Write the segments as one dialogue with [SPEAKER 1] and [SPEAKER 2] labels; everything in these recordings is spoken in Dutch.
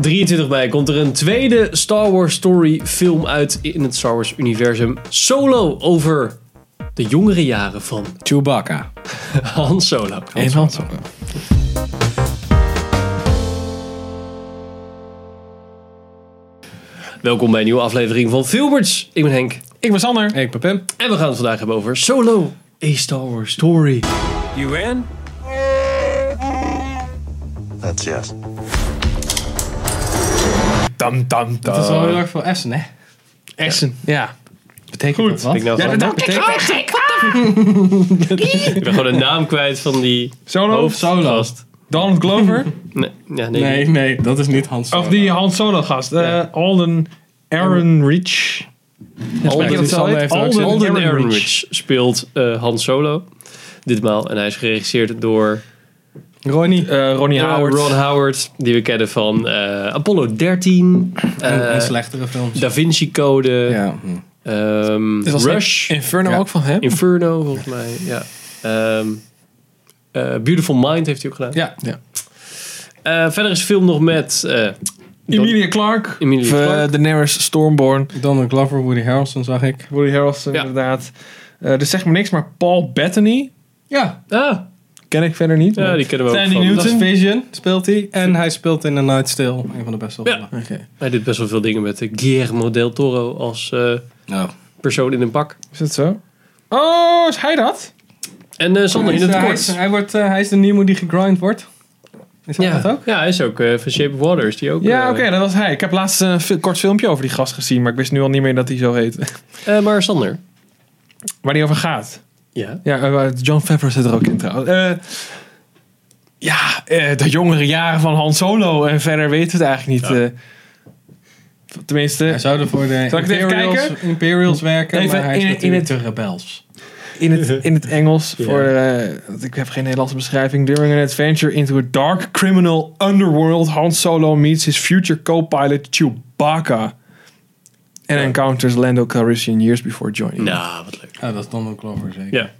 [SPEAKER 1] 23 mei komt er een tweede Star Wars Story film uit in het Star Wars universum. Solo over de jongere jaren van
[SPEAKER 2] Chewbacca.
[SPEAKER 1] Han Solo.
[SPEAKER 2] Eén hand.
[SPEAKER 1] Welkom bij een nieuwe aflevering van Filmers. Ik ben Henk
[SPEAKER 3] Ik ben Sander.
[SPEAKER 2] Ik ben Pim.
[SPEAKER 1] en we gaan het vandaag hebben over Solo, A Star Wars Story.
[SPEAKER 3] You in?
[SPEAKER 4] That's yes.
[SPEAKER 3] Tam tam tam.
[SPEAKER 2] Dat is wel heel erg veel S'en, hè?
[SPEAKER 1] Eh. Essen.
[SPEAKER 2] Ja. Betekent Goed. dat wat?
[SPEAKER 1] Ik, nou
[SPEAKER 2] ja,
[SPEAKER 1] gewoon-
[SPEAKER 2] dat betekent
[SPEAKER 1] ik ben gewoon de naam kwijt van die
[SPEAKER 3] Solo?
[SPEAKER 1] hoofd.
[SPEAKER 2] Solo.
[SPEAKER 3] Donald Glover?
[SPEAKER 1] Nee, ja, nee,
[SPEAKER 2] Nee, nee, dat is niet Hans.
[SPEAKER 3] of die Han Solo gast. eh, Alden Aaron Rich.
[SPEAKER 1] Alden,
[SPEAKER 2] Alden,
[SPEAKER 3] Alden
[SPEAKER 2] Alden heeft er ook
[SPEAKER 3] Alden-
[SPEAKER 2] zin in.
[SPEAKER 1] Alden
[SPEAKER 3] Ehrenreich.
[SPEAKER 1] Ehrenreich speelt eh, Han Solo. Ditmaal. En hij is geregisseerd door
[SPEAKER 2] Ronnie.
[SPEAKER 3] Ronnie
[SPEAKER 1] eh,
[SPEAKER 3] Howard.
[SPEAKER 1] Ron Howard. Die we kennen van eh, Apollo 13.
[SPEAKER 2] en,
[SPEAKER 1] eh,
[SPEAKER 2] en slechtere films.
[SPEAKER 1] Da Vinci Code.
[SPEAKER 2] ja.
[SPEAKER 1] ehm, Rush.
[SPEAKER 5] Inferno
[SPEAKER 2] Ja.
[SPEAKER 5] ook van hem?
[SPEAKER 1] Inferno, volgens mij. Ja. Ehm, eh, Beautiful Mind heeft hij ook gedaan.
[SPEAKER 2] Ja.
[SPEAKER 5] Ja.
[SPEAKER 1] Eh, verder is de film nog met eh
[SPEAKER 3] Emilia Clarke.
[SPEAKER 1] Emilia
[SPEAKER 5] Of
[SPEAKER 1] Clarke.
[SPEAKER 5] eh, Daenerys Stormborn.
[SPEAKER 2] Donald Glover, Woody Harrelson zag ik.
[SPEAKER 3] Woody Harrelson
[SPEAKER 1] Ja.
[SPEAKER 3] inderdaad. Eh dus zeg me niks, maar Paul Bettany
[SPEAKER 2] Ja.
[SPEAKER 1] Ah,
[SPEAKER 3] ken ik verder niet.
[SPEAKER 1] ja, die kennen we ook
[SPEAKER 3] Sandy
[SPEAKER 1] van.
[SPEAKER 3] Newton.
[SPEAKER 2] Dat is Vision, speelt hij. En hij speelt in The Night Still. Een van de beste
[SPEAKER 1] Ja.
[SPEAKER 2] rollen.
[SPEAKER 1] Hij doet best wel veel dingen met eh, Guillermo del Toro als eh,
[SPEAKER 2] Nou.
[SPEAKER 1] persoon in een pak.
[SPEAKER 3] Is dat zo? Oh, is hij dat?
[SPEAKER 1] En eh Sander, in
[SPEAKER 2] Hij
[SPEAKER 1] het
[SPEAKER 2] is, eh, hij is-
[SPEAKER 1] kort.
[SPEAKER 2] Hij, wordt, eh, hij is de Nemo die gegrind wordt. Is hij dat
[SPEAKER 1] Ja,
[SPEAKER 2] ook?
[SPEAKER 1] ja, hij is ook eh, van Shape of Water. Is die ook,
[SPEAKER 3] Ja,
[SPEAKER 1] eh,
[SPEAKER 3] oké, dat was hij. Ik heb laatst een fi- kort filmpje over die gast gezien, maar ik wist nu al niet meer dat hij zo heet.
[SPEAKER 1] eh, maar Sander.
[SPEAKER 3] Waar die over gaat.
[SPEAKER 1] Ja.
[SPEAKER 3] Ja, eh, maar John Favreau zit er ook in trouwens. Eh, ja, eh, de jongere jaren van Han Solo en verder weten we het eigenlijk niet. eh.
[SPEAKER 2] Hij
[SPEAKER 3] tenminste,
[SPEAKER 2] zou voor de
[SPEAKER 3] Zal ik het even
[SPEAKER 2] Imperials,
[SPEAKER 3] kijken?
[SPEAKER 2] Imperials werken,
[SPEAKER 3] Even
[SPEAKER 2] maar hij is
[SPEAKER 3] in- in
[SPEAKER 2] natuurlijk
[SPEAKER 3] het-
[SPEAKER 2] te rebels.
[SPEAKER 3] in het, in het Engels.
[SPEAKER 1] Ja.
[SPEAKER 3] Voor, eh, want ik heb geen Nederlandse beschrijving. During an adventure into a dark criminal underworld, Han Solo meets his future co-pilot Chewbacca. And encounters Lando Calrissian years before joining.
[SPEAKER 1] Nou, wat leuk.
[SPEAKER 2] Ja, dat is Donald Glover zeker.
[SPEAKER 1] Ja.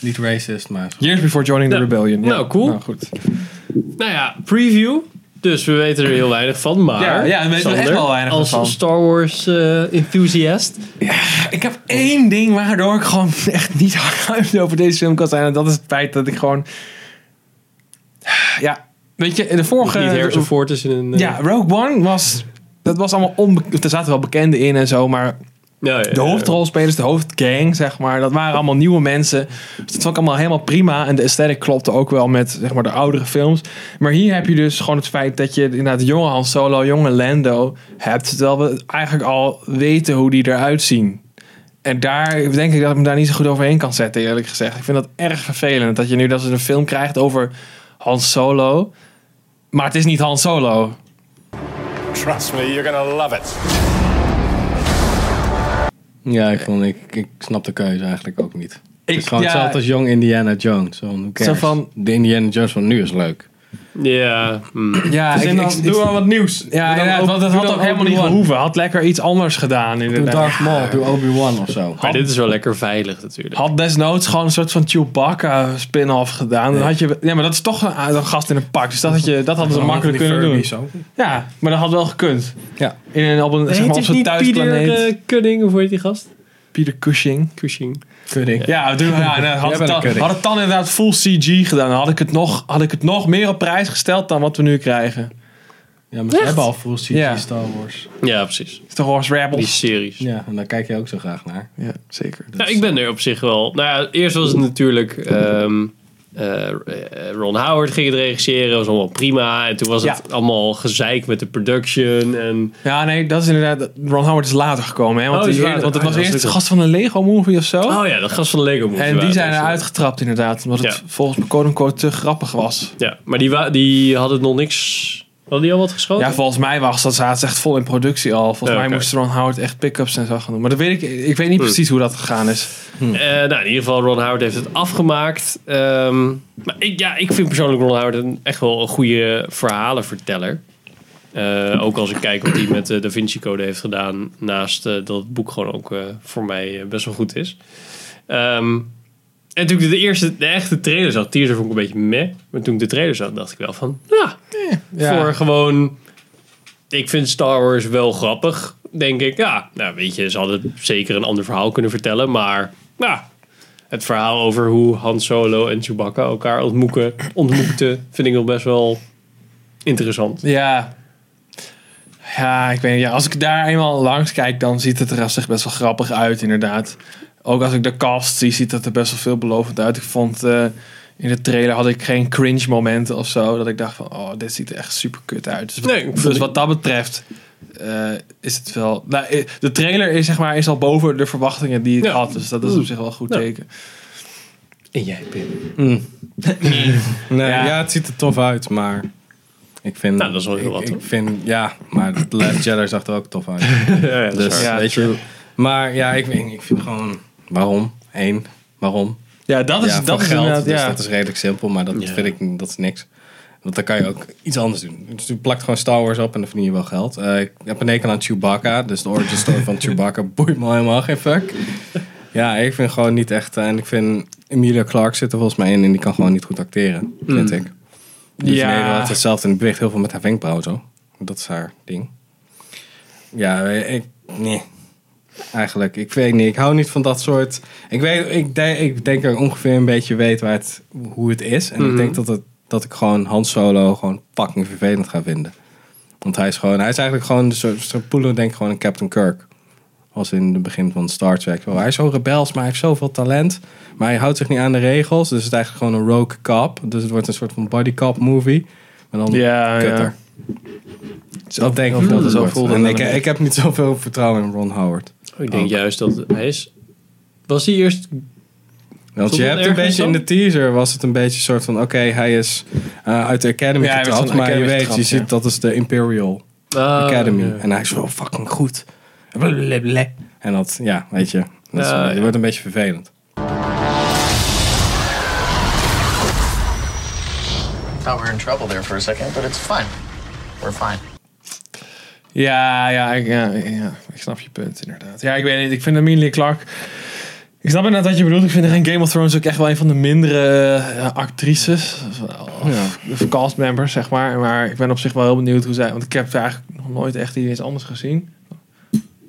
[SPEAKER 2] Niet racist, maar... is goed.
[SPEAKER 3] Years before joining the
[SPEAKER 1] Nou,
[SPEAKER 3] rebellion. Ja.
[SPEAKER 1] nou, cool.
[SPEAKER 3] Nou, goed.
[SPEAKER 1] Nou ja, preview. Dus we weten er heel weinig van, maar...
[SPEAKER 3] Ja, ja, we weten er
[SPEAKER 1] Sander,
[SPEAKER 3] echt wel weinig
[SPEAKER 1] als
[SPEAKER 3] van.
[SPEAKER 1] een Star Wars eh, enthusiast.
[SPEAKER 3] Ik heb één ding waardoor ik gewoon echt niet hard over deze film kan zijn. En dat is het feit dat ik gewoon. Ja, weet je, in de vorige.
[SPEAKER 1] niet Harrison is in een... eh,
[SPEAKER 3] ja, Rogue One was. Dat was allemaal onbekend. Er zaten wel bekenden in en zo, maar
[SPEAKER 1] ja, ja,
[SPEAKER 3] de
[SPEAKER 1] ja.
[SPEAKER 3] hoofdrolspelers, de hoofdgang, zeg maar, dat waren allemaal nieuwe mensen. Dus dat vond ik allemaal helemaal prima. En de aesthetic klopte ook wel met zeg maar, de oudere films. Maar hier heb je dus gewoon het feit dat je inderdaad jonge Han Solo, jonge Lando hebt. Terwijl we eigenlijk al weten hoe die eruit zien. En daar denk ik dat ik me daar niet zo goed overheen kan zetten, eerlijk gezegd. Ik vind dat erg vervelend dat je nu dat ze een film krijgt over Han Solo. Maar het is niet Han Solo.
[SPEAKER 4] Trust me, you're gonna love it.
[SPEAKER 2] Ja, ik, vond, ik, ik snap de keuze eigenlijk ook niet. het is
[SPEAKER 3] Ik-
[SPEAKER 2] gewoon
[SPEAKER 3] ja.
[SPEAKER 2] hetzelfde als jong Indiana Jones. Van, who cares?
[SPEAKER 3] Zo van-
[SPEAKER 2] de Indiana Jones van nu is leuk.
[SPEAKER 1] Ja, hm.
[SPEAKER 3] Ja,
[SPEAKER 2] ik- ik- ik-
[SPEAKER 3] wel wat nieuws. Ja,
[SPEAKER 2] Doe dan
[SPEAKER 3] ja,
[SPEAKER 2] ook-
[SPEAKER 3] dat, dat
[SPEAKER 2] doe
[SPEAKER 3] had
[SPEAKER 2] dan
[SPEAKER 3] ook helemaal niet
[SPEAKER 2] Obi-Wan.
[SPEAKER 3] gehoeven. Had lekker iets anders gedaan
[SPEAKER 2] Doe
[SPEAKER 3] inderdaad.
[SPEAKER 2] Darth Maul, doe Obi-Wan of zo.
[SPEAKER 1] Maar dit is wel lekker veilig natuurlijk.
[SPEAKER 3] Had desnoods gewoon een soort van Chewbacca spin-off gedaan. Dan had je, ja, maar dat is toch een, een gast in een pak. Dus dat, had je, dat hadden ze makkelijk kunnen doen. Ja, maar dat had wel gekund.
[SPEAKER 2] Ja.
[SPEAKER 3] In een, op een, zeg maar, op zijn thuisplaneet.
[SPEAKER 1] Pieter
[SPEAKER 3] Peter,
[SPEAKER 1] eh, Cunning, of hoe heet die gast?
[SPEAKER 3] Cushing.
[SPEAKER 1] Cushing.
[SPEAKER 2] Kudding.
[SPEAKER 3] Ja, doe, ja dan
[SPEAKER 2] Jij
[SPEAKER 3] had, het
[SPEAKER 2] bent
[SPEAKER 3] dan,
[SPEAKER 2] een kudde.
[SPEAKER 3] had het dan inderdaad full CG gedaan. Dan had ik, het nog, had ik het nog meer op prijs gesteld dan wat we nu krijgen.
[SPEAKER 2] Ja, maar ze
[SPEAKER 1] Echt?
[SPEAKER 2] hebben al vroeg CG
[SPEAKER 3] Ja.
[SPEAKER 2] Star Wars.
[SPEAKER 1] Ja, precies.
[SPEAKER 3] Is toch Horse
[SPEAKER 1] Die
[SPEAKER 3] Rebels?
[SPEAKER 1] series. Ja.
[SPEAKER 2] Ja, en daar kijk je ook zo graag naar.
[SPEAKER 3] zeker.
[SPEAKER 1] ik ben er op zich wel. Nou ja, eerst was het natuurlijk. ehm, eh, eh, Ron Howard ging het regisseren, was allemaal prima. En toen was het allemaal gezeik met de production. En
[SPEAKER 3] Ja, nee, dat is inderdaad. Ron Howard is later gekomen, hè? Want,
[SPEAKER 1] Oh, is
[SPEAKER 3] die
[SPEAKER 1] later.
[SPEAKER 3] want het
[SPEAKER 1] Ah,
[SPEAKER 3] was
[SPEAKER 1] dat is
[SPEAKER 3] eerst de
[SPEAKER 1] ook-
[SPEAKER 3] gast van een Lego movie of zo.
[SPEAKER 1] Oh ja, dat gast van de Lego Movie.
[SPEAKER 3] en
[SPEAKER 1] waren
[SPEAKER 3] die zijn
[SPEAKER 1] het.
[SPEAKER 3] eruit getrapt, inderdaad. Omdat het
[SPEAKER 1] Ja.
[SPEAKER 3] volgens me quote unquote te grappig was.
[SPEAKER 1] Ja, maar die, wa- die hadden nog niks. Hadden die al wat geschoten?
[SPEAKER 3] Ja, volgens mij was dat zaten ze echt vol in productie al. Volgens
[SPEAKER 1] Oh. Ja,
[SPEAKER 3] mij
[SPEAKER 1] oké. Hm.
[SPEAKER 3] moest Ron Howard echt pick-ups en zo gaan doen. Maar dat weet ik, ik weet niet precies hoe dat gegaan is.
[SPEAKER 1] Eh, nou, in ieder geval, Ron Howard heeft het afgemaakt. Ehm, maar ik, ja, ik vind persoonlijk Ron Howard een, echt wel een goede verhalenverteller. Eh, ook als ik kijk wat hij met de Da Vinci Code heeft gedaan. Naast eh, dat het boek gewoon ook eh, voor mij eh, best wel goed is. Ehm, en toen ik de eerste, de echte trailer zag, teaser vond ik een beetje meh. Maar toen ik de trailer zag, dacht ik wel van, ja,
[SPEAKER 3] Ja.
[SPEAKER 1] voor "Ah, gewoon ik vind Star Wars wel grappig, denk ik. Ja, nou weet je, ze hadden zeker een ander verhaal kunnen vertellen, maar ja, het verhaal over hoe Han Solo en Chewbacca elkaar ontmoeken, ontmoeten, vind ik nog best wel interessant.
[SPEAKER 3] Ja. Ja, ik weet niet. Ja, als ik daar eenmaal langs kijk, dan ziet het er op zich best wel grappig uit, inderdaad. Ook als ik de cast zie, ziet het er best wel veelbelovend uit. Ik vond eh, in de trailer had ik geen cringe momenten of zo. Dat ik dacht van, oh, dit ziet er echt super kut uit. Dus wat,
[SPEAKER 1] Nee, ik vond
[SPEAKER 3] dus
[SPEAKER 1] ik-
[SPEAKER 3] wat dat betreft eh, is het wel... Nou, eh, de trailer is, zeg maar, is al boven de verwachtingen die ik
[SPEAKER 1] Ja.
[SPEAKER 3] had. Dus dat is op zich wel een goed
[SPEAKER 1] Ja.
[SPEAKER 3] teken.
[SPEAKER 1] En jij, Pim?
[SPEAKER 2] Nee,
[SPEAKER 3] Ja.
[SPEAKER 2] ja. het ziet er tof uit, maar ik vind...
[SPEAKER 1] Nou, dat is wel heel
[SPEAKER 2] ik-
[SPEAKER 1] wat,
[SPEAKER 2] Ik,
[SPEAKER 1] hoor.
[SPEAKER 2] vind, ja, maar The Last Jedi zag er ook tof uit.
[SPEAKER 1] Ja, dat is
[SPEAKER 2] dus,
[SPEAKER 1] waar.
[SPEAKER 3] waar.
[SPEAKER 2] weet je... Maar ja, ik, weet niet, ik vind gewoon... Waarom? Eén, waarom?
[SPEAKER 3] Ja, dat is,
[SPEAKER 2] ja,
[SPEAKER 3] dat
[SPEAKER 2] voor
[SPEAKER 3] is
[SPEAKER 2] geld,
[SPEAKER 3] inderdaad-
[SPEAKER 2] dus
[SPEAKER 3] ja.
[SPEAKER 2] dat is redelijk simpel, maar dat
[SPEAKER 1] Ja.
[SPEAKER 2] vind ik dat is niks. Want dan kan je ook iets anders doen. Dus je plakt gewoon Star Wars op en dan verdien je wel geld. Eh, ik heb een hekel aan Chewbacca, dus de origin story van Chewbacca boeit me helemaal geen fuck. Ja, ik vind gewoon niet echt... eh, en ik vind Emilia Clarke zit er volgens mij in en die kan gewoon niet goed acteren, vind ik. Dus ja.
[SPEAKER 3] Ja.
[SPEAKER 2] Nederland had hetzelfde in het bericht heel veel met haar wenkbrauw zo. Dat is haar ding. Ja, eh, ik... Nee. Eigenlijk, ik weet niet. Ik hou niet van dat soort... Ik, weet, ik, denk, ik denk dat ik ongeveer een beetje weet waar het, hoe het is. En ik denk dat, het, dat ik gewoon Han Solo gewoon fucking vervelend ga vinden. Want hij is gewoon... Hij is eigenlijk gewoon... de soort soort Poelen denk ik gewoon een Captain Kirk. Als in het begin van Star Trek. Oh, hij is zo rebels, maar hij heeft zoveel talent. Maar hij houdt zich niet aan de regels. Dus het is eigenlijk gewoon een rogue cop. Dus het wordt een soort van body cop movie. Maar dan
[SPEAKER 3] Ja, Hm. ja.
[SPEAKER 2] kutter. Dus Dat denk ik
[SPEAKER 3] voelde-
[SPEAKER 2] dat het
[SPEAKER 3] zo
[SPEAKER 2] wordt.
[SPEAKER 3] voelde
[SPEAKER 2] En
[SPEAKER 3] het
[SPEAKER 2] ik,
[SPEAKER 3] wel een
[SPEAKER 2] ik heb niet zoveel vertrouwen in Ron Howard.
[SPEAKER 1] Dus Ik denk juist dat hij is... Was hij eerst...
[SPEAKER 2] Want
[SPEAKER 1] Vond het
[SPEAKER 2] je hebt een
[SPEAKER 1] ergens
[SPEAKER 2] beetje in
[SPEAKER 1] dan?
[SPEAKER 2] de teaser was het een beetje een soort van... Oké, hij is eh, uit de Academy
[SPEAKER 3] Ja, hij werd
[SPEAKER 2] getrapt.
[SPEAKER 3] van de
[SPEAKER 2] Maar je
[SPEAKER 3] Academy
[SPEAKER 2] weet,
[SPEAKER 3] getrapt,
[SPEAKER 2] je
[SPEAKER 3] ja.
[SPEAKER 2] ziet dat is de Imperial
[SPEAKER 1] Ah,
[SPEAKER 2] Academy.
[SPEAKER 3] Oh,
[SPEAKER 1] ja.
[SPEAKER 2] En hij is wel fucking goed. Blablabla. En dat, ja, weet je. Dat is,
[SPEAKER 1] Ja,
[SPEAKER 2] het
[SPEAKER 1] ja.
[SPEAKER 2] wordt een beetje vervelend.
[SPEAKER 5] Thought we were in trouble there for a second, but it's fine. We're fine.
[SPEAKER 3] Ja, ja, ik, ja, ja, ik snap je punt inderdaad. Ja, ik weet niet. Ik vind Amelia Clark. Ik snap inderdaad wat je bedoelt. Ik vind haar in Game of Thrones ook echt wel een van de mindere eh, actrices. Of, of cast members, zeg maar. Maar ik ben op zich wel heel benieuwd hoe zij. Want ik heb haar eigenlijk nog nooit echt iets anders gezien.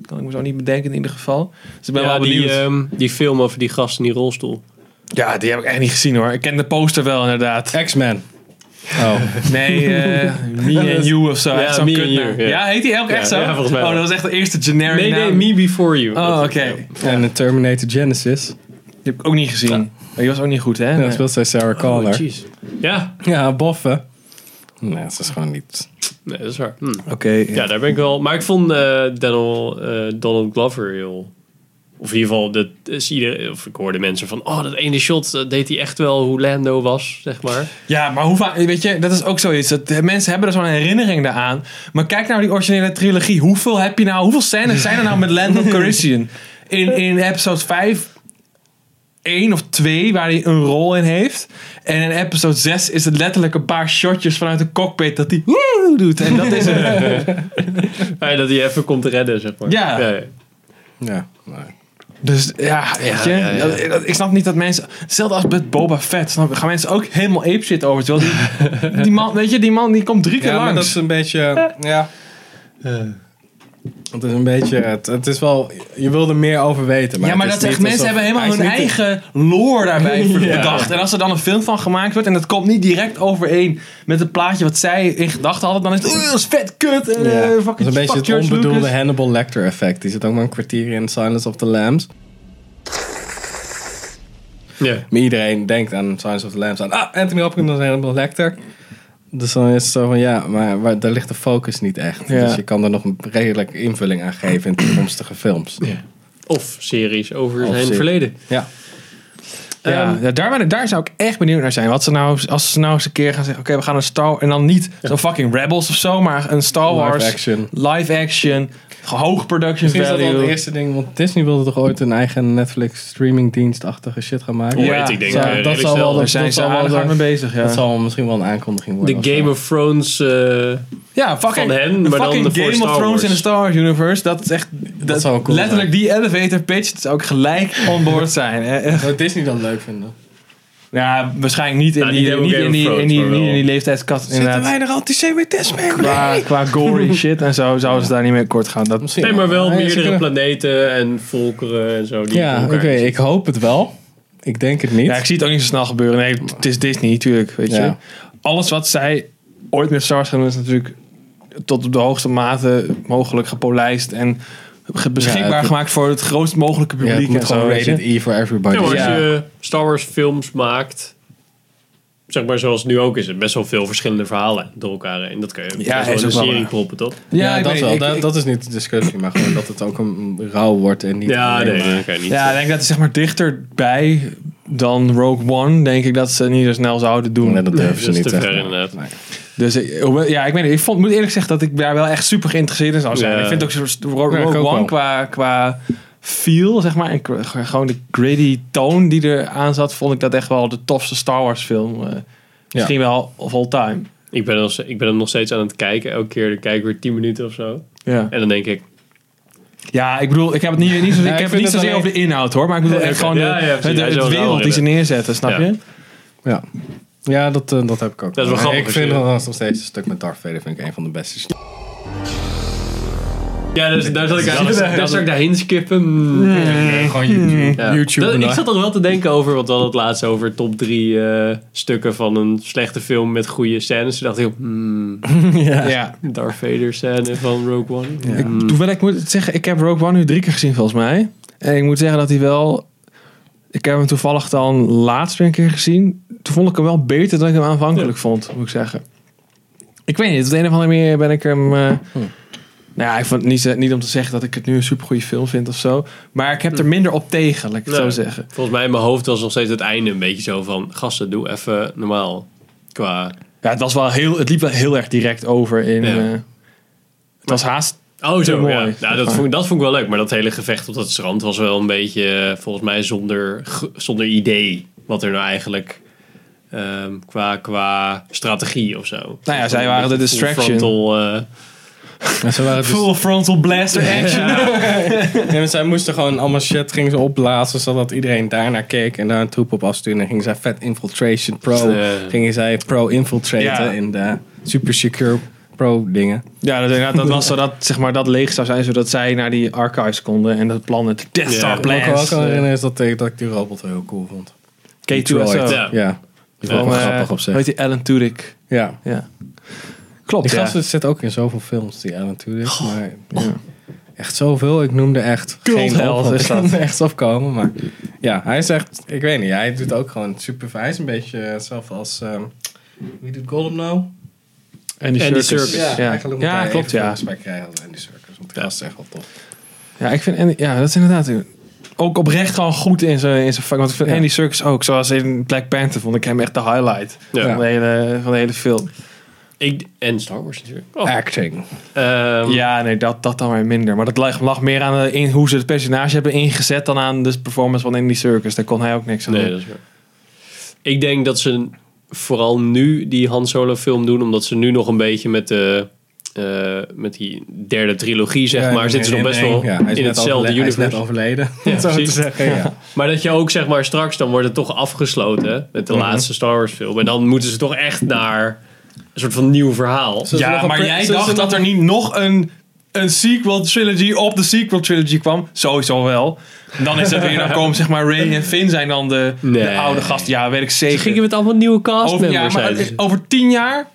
[SPEAKER 3] Kan ik me zo niet bedenken in ieder geval. Dus ik ben
[SPEAKER 1] Ja,
[SPEAKER 3] wel
[SPEAKER 1] die,
[SPEAKER 3] benieuwd.
[SPEAKER 1] ehm, die film over die gast in die rolstoel.
[SPEAKER 3] ja, die heb ik echt niet gezien hoor. Ik ken de poster wel inderdaad.
[SPEAKER 2] X-Men. Oh.
[SPEAKER 3] Nee, eh Me and You of zo.
[SPEAKER 1] Ja,
[SPEAKER 3] echt zo'n
[SPEAKER 1] Me and
[SPEAKER 3] kutnaam.
[SPEAKER 1] You, ja.
[SPEAKER 3] Ja, heet die ook echt zo?
[SPEAKER 1] Ja, ja, volgens mij
[SPEAKER 3] oh,
[SPEAKER 1] wel.
[SPEAKER 3] dat was echt de eerste generic
[SPEAKER 1] Nee, nee,
[SPEAKER 3] naam.
[SPEAKER 1] Me Before You.
[SPEAKER 3] Oh, oké.
[SPEAKER 1] Dat is het,
[SPEAKER 2] En de Terminator Genesis.
[SPEAKER 3] Die heb ik ook niet gezien. Maar Die was ook niet goed, hè?
[SPEAKER 2] En
[SPEAKER 3] Nee.
[SPEAKER 2] dat speelt zij Sarah
[SPEAKER 1] ja. Oh,
[SPEAKER 2] Connor.
[SPEAKER 1] jeez. Ja,
[SPEAKER 2] ja, boffen. Nee, ze is gewoon niet...
[SPEAKER 1] nee, dat is waar. Hm.
[SPEAKER 3] Oké.
[SPEAKER 1] Ja, daar ben ik wel. Maar ik vond eh, Donald, eh, Donald Glover heel. Of in ieder geval, dat is ieder, of ik hoorde mensen van. Oh, dat ene shot dat deed hij echt wel hoe Lando was, zeg maar.
[SPEAKER 3] Ja, maar hoe vaak, weet je, dat is ook zoiets. Dat, de mensen hebben er zo'n herinnering daaraan. Maar kijk nou die originele trilogie. Hoeveel heb je nou, hoeveel scènes zijn er nou met Lando Calrissian? In, in episode 5, 1 of 2, waar hij een rol in heeft. En in episode 6 is het letterlijk een paar shotjes vanuit de cockpit dat hij woe doet. En dat is het.
[SPEAKER 1] Ah, ja, dat hij even komt redden, zeg maar.
[SPEAKER 3] Ja.
[SPEAKER 2] Ja, nee.
[SPEAKER 3] Dus ja, weet je.
[SPEAKER 1] ja, ja.
[SPEAKER 3] dat- dat- Ik snap niet dat mensen... Hetzelfde als met Boba Fett. Snap, je, gaan mensen ook helemaal ape shit over. Terwijl die, die man, weet je, die man die komt drie keer
[SPEAKER 2] Ja, maar dat
[SPEAKER 3] langs. Eh.
[SPEAKER 2] is een beetje... Ja. Het is een beetje... Het, het is wel... Je wil er meer over weten. Maar
[SPEAKER 3] ja, maar
[SPEAKER 2] het
[SPEAKER 3] dat
[SPEAKER 2] is
[SPEAKER 3] zegt,
[SPEAKER 2] niet
[SPEAKER 3] mensen
[SPEAKER 2] alsof-
[SPEAKER 3] hebben
[SPEAKER 2] hij
[SPEAKER 3] helemaal
[SPEAKER 2] is
[SPEAKER 3] hun
[SPEAKER 2] niet de-
[SPEAKER 3] eigen lore daarbij bedacht. En als er dan een film van gemaakt wordt en dat komt niet direct overeen met het plaatje wat zij in gedachten hadden, dan is het "Oeh, dat is vet kut. En,
[SPEAKER 2] Ja.
[SPEAKER 3] eh, fucking,
[SPEAKER 2] dat is een
[SPEAKER 3] fuck
[SPEAKER 2] beetje het
[SPEAKER 3] George
[SPEAKER 2] onbedoelde
[SPEAKER 3] Lucas."
[SPEAKER 2] Hannibal Lecter effect. Die zit ook maar een kwartier in Silence of the Lambs.
[SPEAKER 1] ja.
[SPEAKER 2] Maar iedereen denkt aan Silence of the Lambs. Aan, ah, Anthony Hopkins als Hannibal Lecter. Dus dan is het zo van, ja, maar waar, daar ligt de focus niet echt.
[SPEAKER 3] Ja.
[SPEAKER 2] Dus je kan er nog een redelijk invulling aan geven in toekomstige films.
[SPEAKER 1] Of series over zijn
[SPEAKER 2] serie.
[SPEAKER 1] verleden.
[SPEAKER 2] Ja.
[SPEAKER 3] Ja,
[SPEAKER 1] Ehm,
[SPEAKER 3] ja, daar, ben ik- daar zou ik echt benieuwd naar zijn. Wat ze nou, als ze nou eens een keer gaan zeggen: oké, we gaan een Star En dan niet zo'n fucking Rebels of zo, maar een Star
[SPEAKER 2] Live
[SPEAKER 3] Wars.
[SPEAKER 2] action.
[SPEAKER 3] Live action. Hoog production
[SPEAKER 2] Misschien is dat wel
[SPEAKER 3] value.
[SPEAKER 2] het eerste ding, want Disney wilde toch ooit een eigen Netflix streamingdienstachtige shit gaan maken?
[SPEAKER 1] hoe
[SPEAKER 3] Ja.
[SPEAKER 1] heet, ik denk
[SPEAKER 2] Zo,
[SPEAKER 1] eh,
[SPEAKER 2] dat
[SPEAKER 1] redelijk
[SPEAKER 2] zal wel
[SPEAKER 1] snel.
[SPEAKER 3] Daar
[SPEAKER 2] de-
[SPEAKER 3] zijn
[SPEAKER 2] dat
[SPEAKER 3] ze
[SPEAKER 2] zal wel
[SPEAKER 3] aardig hard
[SPEAKER 2] de-
[SPEAKER 3] mee bezig. Ja,
[SPEAKER 2] Dat zal misschien wel een aankondiging worden.
[SPEAKER 1] De Game of Thrones. eh,
[SPEAKER 3] ja fucking,
[SPEAKER 1] van hen,
[SPEAKER 3] de
[SPEAKER 1] maar dan
[SPEAKER 3] fucking
[SPEAKER 1] voor
[SPEAKER 3] Game
[SPEAKER 1] Star
[SPEAKER 3] of Thrones
[SPEAKER 1] Wars.
[SPEAKER 3] in de Star Wars Universe. Dat is echt. Dat,
[SPEAKER 2] zou cool
[SPEAKER 3] letterlijk die elevator pitch. Dat zou ik gelijk on board zijn. hè.
[SPEAKER 2] Zou Disney dan leuk vinden?
[SPEAKER 3] Ja, waarschijnlijk niet in
[SPEAKER 1] Nou, niet
[SPEAKER 3] die,
[SPEAKER 1] helemaal
[SPEAKER 3] niet
[SPEAKER 1] Game
[SPEAKER 3] in
[SPEAKER 1] of
[SPEAKER 3] die, in
[SPEAKER 1] Thrones,
[SPEAKER 3] die,
[SPEAKER 1] maar
[SPEAKER 3] niet in
[SPEAKER 1] wel.
[SPEAKER 3] die leeftijdskast.
[SPEAKER 2] Zitten wij
[SPEAKER 3] Inderdaad.
[SPEAKER 2] er antisemitisme mee?
[SPEAKER 3] Qua, qua gory shit en zo zouden ze daar niet mee kort gaan. Dat misschien.
[SPEAKER 1] Nee, maar wel
[SPEAKER 2] Ja, ze
[SPEAKER 1] meerdere
[SPEAKER 2] kunnen-
[SPEAKER 1] planeten en volkeren en zo. Die
[SPEAKER 2] Ja,
[SPEAKER 1] op
[SPEAKER 2] oké,
[SPEAKER 1] elkaar zitten.
[SPEAKER 2] ik hoop het wel. Ik denk het niet.
[SPEAKER 3] Ja, ik zie het ook niet zo snel gebeuren. Nee, het is Disney natuurlijk, weet je.
[SPEAKER 2] Ja.
[SPEAKER 3] Alles wat zij ooit met Stars gaan doen is natuurlijk tot op de hoogste mate mogelijk gepolijst en ge- beschikbaar
[SPEAKER 2] Ja, het-
[SPEAKER 3] gemaakt voor het grootst mogelijke
[SPEAKER 2] Ja, het
[SPEAKER 3] publiek.
[SPEAKER 2] moet
[SPEAKER 3] en zo,
[SPEAKER 2] gewoon
[SPEAKER 3] weet je.
[SPEAKER 2] rated E for everybody.
[SPEAKER 1] Ja, maar als
[SPEAKER 3] Ja.
[SPEAKER 1] je Star Wars films maakt, zeg maar zoals het nu ook is, er best wel veel verschillende verhalen door elkaar heen. Dat kan je
[SPEAKER 3] Ja,
[SPEAKER 1] best wel
[SPEAKER 3] is
[SPEAKER 1] in een
[SPEAKER 3] ook wel
[SPEAKER 1] serie
[SPEAKER 3] waar.
[SPEAKER 1] kloppen, toch?
[SPEAKER 2] Ja,
[SPEAKER 3] ik
[SPEAKER 2] dat
[SPEAKER 3] weet-
[SPEAKER 2] wel.
[SPEAKER 3] ik-
[SPEAKER 2] dat,
[SPEAKER 3] ik-
[SPEAKER 2] dat is niet de discussie, maar gewoon dat het ook een rauw wordt en niet...
[SPEAKER 1] Ja,
[SPEAKER 2] alleen
[SPEAKER 1] nee,
[SPEAKER 2] maar-
[SPEAKER 1] dat kan je niet.
[SPEAKER 3] ja, ik denk dat ze zeg maar dichterbij dan Rogue One, denk ik dat ze niet zo snel zouden doen.
[SPEAKER 2] Nee, dat durven
[SPEAKER 1] dat
[SPEAKER 2] ze
[SPEAKER 1] is
[SPEAKER 2] niet.
[SPEAKER 1] te
[SPEAKER 2] echt.
[SPEAKER 1] ver, eh. inderdaad.
[SPEAKER 2] Nee.
[SPEAKER 3] Dus ik, hoewel- ja, ik, weet niet, ik vond, moet eerlijk zeggen dat ik daar wel echt super geïnteresseerd in zou zijn.
[SPEAKER 1] Ja.
[SPEAKER 3] Ik vind ook zo'n Rogue
[SPEAKER 2] Ja, ik ook wel.
[SPEAKER 3] One qua, qua feel, zeg maar. En qua- gewoon de gritty toon die er aan zat, vond ik dat echt wel de tofste Star Wars film. eh, Misschien wel of all time.
[SPEAKER 1] Ik ben, als, ik ben hem nog steeds aan het kijken. Elke keer dan kijk ik weer 10 minuten of zo.
[SPEAKER 3] Ja.
[SPEAKER 1] En dan denk ik,
[SPEAKER 3] ja, ik bedoel, ik heb het niet, niet, zo,
[SPEAKER 2] Ja,
[SPEAKER 3] ik
[SPEAKER 2] ik
[SPEAKER 3] heb het
[SPEAKER 2] vind
[SPEAKER 3] niet
[SPEAKER 2] het
[SPEAKER 3] zozeer
[SPEAKER 2] alleen-
[SPEAKER 3] over de inhoud hoor, maar ik bedoel
[SPEAKER 1] Ja,
[SPEAKER 3] echt
[SPEAKER 1] ja,
[SPEAKER 3] gewoon de,
[SPEAKER 1] ja, precies.
[SPEAKER 3] het-
[SPEAKER 1] Hij
[SPEAKER 3] het,
[SPEAKER 1] zou het wel
[SPEAKER 3] wereld die
[SPEAKER 1] willen.
[SPEAKER 3] ze neerzetten, snap
[SPEAKER 1] Ja.
[SPEAKER 3] je?
[SPEAKER 2] Ja, ja dat, eh, dat heb ik ook.
[SPEAKER 1] Dat is wel
[SPEAKER 2] Maar
[SPEAKER 1] grappig,
[SPEAKER 2] Ik vind
[SPEAKER 1] ja.
[SPEAKER 2] dat nog steeds een stuk met Darth Vader vind ik een van de beste. st-
[SPEAKER 1] ja, dus, daar zat ik
[SPEAKER 2] Dat
[SPEAKER 1] aan.
[SPEAKER 2] is-
[SPEAKER 1] Daar
[SPEAKER 2] dat
[SPEAKER 1] zat ik daarheen skippen.
[SPEAKER 2] Gewoon YouTube.
[SPEAKER 1] Ja.
[SPEAKER 2] YouTube
[SPEAKER 1] Dat-
[SPEAKER 2] en
[SPEAKER 1] ik
[SPEAKER 2] dat.
[SPEAKER 1] zat al wel te denken over, want we hadden het laatst over top drie eh, stukken van een slechte film met goede scènes. Toen dacht ik, hmm,
[SPEAKER 3] Ja.
[SPEAKER 1] Darth Vader scène van Rogue One. Hmm.
[SPEAKER 3] Ik, hoewel ik moet het zeggen, ik heb Rogue One nu drie keer gezien volgens mij. En ik moet zeggen dat hij wel... Ik heb hem toevallig dan laatst weer een keer gezien. Toen vond ik hem wel beter dan ik hem aanvankelijk vond, moet ik zeggen. Ik weet niet, op de een of andere manier ben ik hem... eh, Nou ja, ik vond het niet, zo- niet om te zeggen dat ik het nu een supergoeie film vind of zo. Maar ik heb er minder op tegen, laat ik het
[SPEAKER 1] Nee.
[SPEAKER 3] zo zeggen.
[SPEAKER 1] Nou, Volgens mij in mijn hoofd was nog steeds het einde een beetje zo van, gasten, doe even normaal. Qua...
[SPEAKER 3] Ja, het, was wel heel, het liep wel heel erg direct over in...
[SPEAKER 1] Ja.
[SPEAKER 3] eh, het was haast...
[SPEAKER 1] Oh, zo,
[SPEAKER 3] mooi,
[SPEAKER 1] ja.
[SPEAKER 3] zeg
[SPEAKER 1] Nou, dat,
[SPEAKER 3] maar.
[SPEAKER 1] vond, dat vond ik wel leuk, maar dat hele gevecht op dat strand was wel een beetje, eh, volgens mij, zonder, g- zonder idee wat er nou eigenlijk... ehm, qua, qua strategie of zo.
[SPEAKER 3] Nou ja, zij
[SPEAKER 1] Een
[SPEAKER 3] waren de
[SPEAKER 1] beetje
[SPEAKER 3] distraction.
[SPEAKER 1] frontal, eh,
[SPEAKER 2] Ja, ze waren dus-
[SPEAKER 3] frontal blaster action.
[SPEAKER 2] Ja, want zij moesten gewoon allemaal shit gingen ze opblazen, zodat iedereen daarnaar keek en daar een troep op afstuurde. En gingen zij Fat Infiltration Pro,
[SPEAKER 1] Ja.
[SPEAKER 2] gingen zij Pro infiltraten
[SPEAKER 3] Ja.
[SPEAKER 2] in de Super Secure Pro dingen.
[SPEAKER 3] Ja, dat, inderdaad, dat was zodat zeg maar, dat leeg zou zijn, zodat zij naar die archives konden en dat plan, het Death
[SPEAKER 1] Ja.
[SPEAKER 3] Star
[SPEAKER 2] Wat ik me ook
[SPEAKER 3] plans.
[SPEAKER 2] wel
[SPEAKER 3] eh,
[SPEAKER 2] herinner is dat, ik- dat ik die robot wel heel cool vond.
[SPEAKER 3] K2SO.
[SPEAKER 1] Ja.
[SPEAKER 2] Ja, die vond ik
[SPEAKER 3] Van,
[SPEAKER 2] wel
[SPEAKER 3] eh,
[SPEAKER 2] grappig op zich.
[SPEAKER 3] Weet je, Alan Tudyk.
[SPEAKER 2] Ja.
[SPEAKER 3] Ja. Klopt,
[SPEAKER 2] Die
[SPEAKER 3] ja.
[SPEAKER 2] gasten zitten ook in zoveel films, die Alan natuurlijk.
[SPEAKER 1] Oh.
[SPEAKER 2] Maar ja. echt zoveel. Ik noemde echt geen
[SPEAKER 3] Cultheld
[SPEAKER 2] op.
[SPEAKER 3] is
[SPEAKER 2] Ik
[SPEAKER 3] dat.
[SPEAKER 2] kan er echt opkomen. Maar ja, hij is echt... Ik weet niet. Hij doet ook gewoon super... Hij is een beetje hetzelfde als... ehm, wie doet Gollum nou?
[SPEAKER 3] En die
[SPEAKER 1] Andy
[SPEAKER 3] circus.
[SPEAKER 1] Serkis.
[SPEAKER 3] Ja, ja.
[SPEAKER 2] eigenlijk moet
[SPEAKER 3] ja
[SPEAKER 2] hij
[SPEAKER 3] klopt,
[SPEAKER 2] even
[SPEAKER 3] ja.
[SPEAKER 2] respect krijgen als Andy Circus. Want die gast is echt wel tof.
[SPEAKER 3] Ja, ik vind Andy, ja, dat is inderdaad ook oprecht gewoon goed in zijn in zijn vak. Want ik vind
[SPEAKER 2] Ja.
[SPEAKER 3] Andy Circus ook, zoals in Black Panther, vond ik hem echt de highlight
[SPEAKER 1] Ja.
[SPEAKER 3] van, de hele, van de hele film.
[SPEAKER 1] ik, en Star Wars natuurlijk. Oh.
[SPEAKER 2] Acting.
[SPEAKER 1] Ehm,
[SPEAKER 3] Ja, nee, dat, dat dan weer minder. Maar dat lag, lag meer aan de, in, hoe ze het personage hebben ingezet dan aan de performance van Andy Circus. Daar kon hij ook niks aan
[SPEAKER 1] Nee,
[SPEAKER 3] doen.
[SPEAKER 1] dat is waar. Ik denk dat ze vooral nu die Han Solo film doen, omdat ze nu nog een beetje met de... eh, met die derde trilogie, zeg maar, zitten ze nog best wel in hetzelfde
[SPEAKER 2] Hij is net
[SPEAKER 1] universe.
[SPEAKER 2] overleden. Ja, zo te
[SPEAKER 1] precies.
[SPEAKER 2] zeggen. Ja.
[SPEAKER 1] Maar dat je ook, zeg maar, straks dan wordt het toch afgesloten hè, met de laatste Star Wars film. En dan moeten ze toch echt naar een soort van nieuw verhaal.
[SPEAKER 2] Zullen ze nog
[SPEAKER 3] Ja,
[SPEAKER 2] een
[SPEAKER 3] maar
[SPEAKER 2] pre-
[SPEAKER 3] jij
[SPEAKER 2] zullen ze
[SPEAKER 3] dacht
[SPEAKER 2] nog-
[SPEAKER 3] dat er niet nog een, een sequel trilogy op de sequel trilogy kwam. Sowieso wel. Dan is het weer, dan komen zeg maar Ray en Finn zijn dan de, de
[SPEAKER 1] Nee.
[SPEAKER 3] oude gasten. Ja, weet ik zeker.
[SPEAKER 1] Gingen met allemaal nieuwe
[SPEAKER 3] over, ja,
[SPEAKER 1] castmembers
[SPEAKER 3] maar
[SPEAKER 1] zijn.
[SPEAKER 3] over tien jaar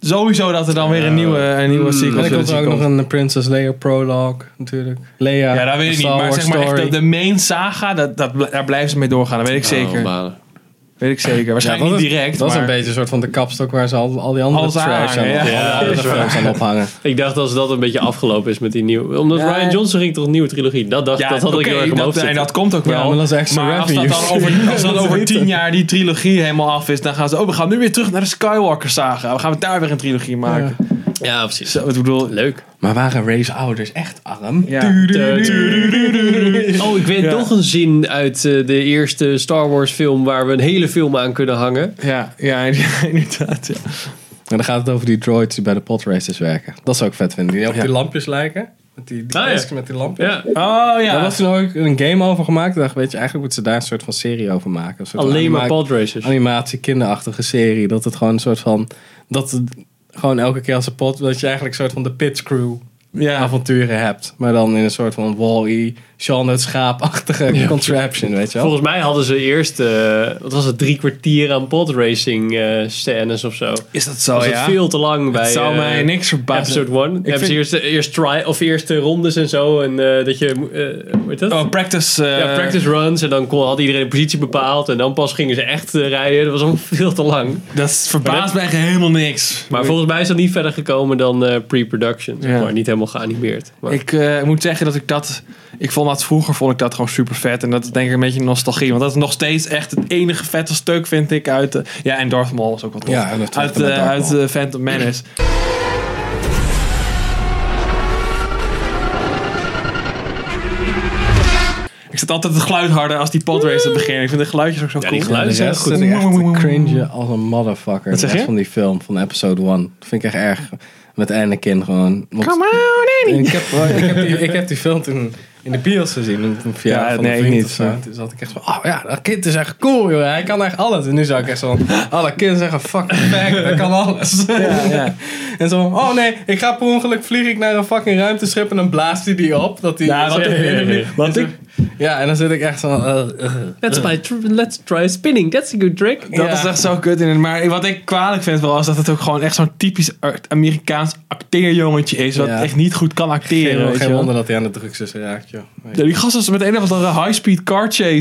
[SPEAKER 3] sowieso dat er dan weer een nieuwe, een nieuwe
[SPEAKER 2] En
[SPEAKER 3] sequel
[SPEAKER 2] dan komt
[SPEAKER 3] trilogy
[SPEAKER 2] er ook
[SPEAKER 3] komt.
[SPEAKER 2] nog een Princess Leia prologue natuurlijk. Leia.
[SPEAKER 3] ja, dat weet ik niet.
[SPEAKER 2] Star
[SPEAKER 3] Maar
[SPEAKER 2] Wars
[SPEAKER 3] zeg maar echt
[SPEAKER 2] story.
[SPEAKER 3] de, de main saga, dat, dat, bl- daar blijven ze mee doorgaan. Dat weet ik
[SPEAKER 1] Oh,
[SPEAKER 3] zeker. weet ik zeker.
[SPEAKER 2] Oh, Ja,
[SPEAKER 3] Waarschijnlijk
[SPEAKER 2] dat
[SPEAKER 3] niet
[SPEAKER 2] is-
[SPEAKER 3] direct,
[SPEAKER 2] Dat
[SPEAKER 3] maar...
[SPEAKER 2] is een beetje een soort van de kapstok waar ze al, al die andere
[SPEAKER 3] Alles aan
[SPEAKER 2] trash aan,
[SPEAKER 3] hangen, ja.
[SPEAKER 2] al die
[SPEAKER 1] Ja,
[SPEAKER 2] andere
[SPEAKER 1] dat is
[SPEAKER 2] films aan ophangen.
[SPEAKER 1] Ik dacht als dat een beetje afgelopen is met die nieuwe... Omdat
[SPEAKER 3] Ja.
[SPEAKER 1] Ryan Johnson ging toch een nieuwe trilogie? Dat dacht
[SPEAKER 3] Ja,
[SPEAKER 1] dat had ik
[SPEAKER 3] oké,
[SPEAKER 1] heel erg omhoog
[SPEAKER 3] dat, en
[SPEAKER 1] zitten.
[SPEAKER 3] dat komt ook wel.
[SPEAKER 2] Ja, maar dat is extra
[SPEAKER 3] Maar als dat dan
[SPEAKER 2] revenues.
[SPEAKER 3] over, als dan
[SPEAKER 2] Dat is
[SPEAKER 3] over
[SPEAKER 2] eten.
[SPEAKER 3] tien jaar die trilogie helemaal af is, dan gaan ze, oh, we gaan nu weer terug naar de Skywalker saga. We gaan daar weer een trilogie maken.
[SPEAKER 1] Ja, precies.
[SPEAKER 3] Zo, ik bedoel,
[SPEAKER 1] Leuk.
[SPEAKER 2] Maar waren Ray's ouders echt arm?
[SPEAKER 3] ja.
[SPEAKER 1] Oh, ik weet
[SPEAKER 3] Ja.
[SPEAKER 1] nog een zin uit eh, de eerste Star Wars film waar we een hele film aan kunnen hangen.
[SPEAKER 3] Ja, ja, inderdaad. Ja.
[SPEAKER 2] En dan gaat het over die droids die bij de podraces werken. Dat zou ik vet vinden. Die op die lampjes lijken. Met die, die
[SPEAKER 1] Ah, ja.
[SPEAKER 2] desk met die lampjes.
[SPEAKER 1] Ja.
[SPEAKER 3] Oh
[SPEAKER 2] Daar was toen ook een game over gemaakt. Ik dacht, weet je, eigenlijk moeten ze daar een soort van serie over maken. Een soort
[SPEAKER 1] Alleen maar
[SPEAKER 2] anima-
[SPEAKER 3] Dus-
[SPEAKER 1] podracers.
[SPEAKER 2] Animatie, kinderachtige serie. Dat het gewoon een soort van... Dat het gewoon elke keer als een pot... Dat je eigenlijk een soort van de pit crew
[SPEAKER 3] Ja.
[SPEAKER 2] avonturen hebt. Maar dan in een soort van Wall-E, Sean het schaapachtige contraption, weet je wel.
[SPEAKER 1] Volgens mij hadden ze eerst, eh, wat was het, drie kwartier aan podracing eh scènes of zo.
[SPEAKER 3] Is dat zo,
[SPEAKER 1] was
[SPEAKER 3] Oh, ja?
[SPEAKER 1] het veel te lang bij
[SPEAKER 3] zou
[SPEAKER 1] eh,
[SPEAKER 3] mij niks verbazen.
[SPEAKER 1] episode 1. Hebben
[SPEAKER 3] vind-
[SPEAKER 1] ze eerst, eerst, try, of eerst eh, rondes en zo. En eh, dat je, eh, hoe heet dat?
[SPEAKER 3] Oh, practice. eh,
[SPEAKER 1] ja, practice runs en dan kon, had iedereen de positie bepaald en dan pas gingen ze echt eh, rijden. Dat was allemaal veel te lang.
[SPEAKER 3] Dat verbaast mij echt helemaal niks.
[SPEAKER 1] Maar volgens mij is dat niet verder gekomen dan eh, pre-production, zeg
[SPEAKER 3] Ja.
[SPEAKER 1] maar. Niet helemaal geanimeerd. Maar,
[SPEAKER 3] Ik eh, moet zeggen dat ik dat. Ik vond dat vroeger vond ik dat gewoon super vet. En dat is denk ik een beetje nostalgie. Want dat is nog steeds echt het enige vette stuk, vind ik. Uit, eh, ja, en Darth Maul is ook wat tof.
[SPEAKER 2] Ja, en dat
[SPEAKER 3] uit
[SPEAKER 2] met
[SPEAKER 3] eh,
[SPEAKER 2] Darth
[SPEAKER 3] uit
[SPEAKER 2] Maul.
[SPEAKER 3] eh, Phantom Menace. Ik zet altijd het geluid harder als die podrace het begint. Ik vind de geluidjes ook zo
[SPEAKER 1] Ja,
[SPEAKER 3] cool.
[SPEAKER 1] die geluid-
[SPEAKER 2] En de
[SPEAKER 1] Luister,
[SPEAKER 2] rest
[SPEAKER 1] goed.
[SPEAKER 2] zit ik echt te cringen als een motherfucker.
[SPEAKER 3] Wat zeg
[SPEAKER 2] De rest
[SPEAKER 3] je?
[SPEAKER 2] van die film, van episode 1. Dat vind ik echt erg. Met Anakin gewoon. Want-
[SPEAKER 3] Come on, Annie.
[SPEAKER 2] ik, heb, ik, heb die, ik heb die film toen in de bios gezien. Een een verjaardag
[SPEAKER 3] Ja,
[SPEAKER 2] van een
[SPEAKER 3] nee, ik
[SPEAKER 2] vriend
[SPEAKER 3] niet,
[SPEAKER 2] of zo.
[SPEAKER 3] maar-
[SPEAKER 2] Toen zat ik echt van, oh ja, dat kind is echt cool, joh. Hij kan echt alles. En nu zou ik echt zo van, oh, dat kind is echt een fucking fact. Hij kan alles.
[SPEAKER 3] Ja, ja.
[SPEAKER 2] En zo van, oh nee, ik ga per ongeluk vlieg ik naar een fucking ruimteschip en dan blaast hij die op. Dat die,
[SPEAKER 3] Ja,
[SPEAKER 2] dat
[SPEAKER 3] wat
[SPEAKER 2] die-
[SPEAKER 3] ik, wat ik
[SPEAKER 2] ja, en dan zit ik echt zo van, eh, eh.
[SPEAKER 1] let's, try, let's try spinning, that's a good trick.
[SPEAKER 3] Dat
[SPEAKER 2] Ja.
[SPEAKER 3] is echt zo kut in het. Maar wat ik kwalijk vind wel is dat het ook gewoon echt zo'n typisch ar- Amerikaans acteerjongetje is. Wat
[SPEAKER 2] Ja.
[SPEAKER 3] echt niet goed kan acteren.
[SPEAKER 2] geen,
[SPEAKER 3] weet je
[SPEAKER 2] geen
[SPEAKER 3] wel.
[SPEAKER 2] wonder dat hij aan de drugs is geraakt, joh.
[SPEAKER 3] Ja, die gast is met een of andere high-speed car chase eh,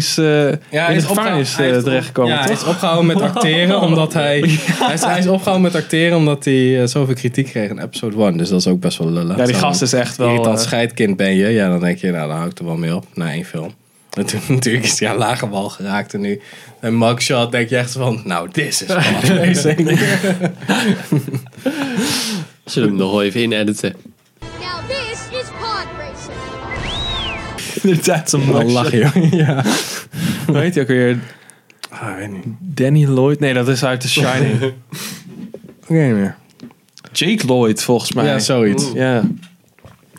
[SPEAKER 3] in de gevangenis
[SPEAKER 2] opgehouden- hij
[SPEAKER 3] eh,
[SPEAKER 2] is op-
[SPEAKER 3] terechtgekomen.
[SPEAKER 2] Ja, hij
[SPEAKER 3] toch?
[SPEAKER 2] is opgehouden met acteren omdat hij... Hij, is, hij is opgehouden met acteren omdat hij eh, zoveel kritiek kreeg in episode 1. Dus dat is ook best wel lullig.
[SPEAKER 3] Ja, die
[SPEAKER 2] Zo,
[SPEAKER 3] gast is echt wel,
[SPEAKER 2] Irritant
[SPEAKER 3] eh,
[SPEAKER 2] scheidkind ben je. Ja, dan denk je, nou, dan hou ik er wel mee op. Na één film. En toen natuurlijk is hij aan lage wal geraakt. En nu een mugshot denk je echt van... Nou, this is what amazing.
[SPEAKER 1] Zullen we hem nog wel even inediten?
[SPEAKER 6] Now this is pod racing.
[SPEAKER 3] Inderdaad, zo'n
[SPEAKER 2] Dan
[SPEAKER 3] man.
[SPEAKER 2] lach je. joh. Ja.
[SPEAKER 3] Hoe heet hij ook weer?
[SPEAKER 2] Ah, weet niet.
[SPEAKER 3] Danny Lloyd? Nee, dat is uit The Shining.
[SPEAKER 2] Oké, meer.
[SPEAKER 3] Jake Lloyd, volgens mij.
[SPEAKER 2] Ja, zoiets.
[SPEAKER 3] Ja.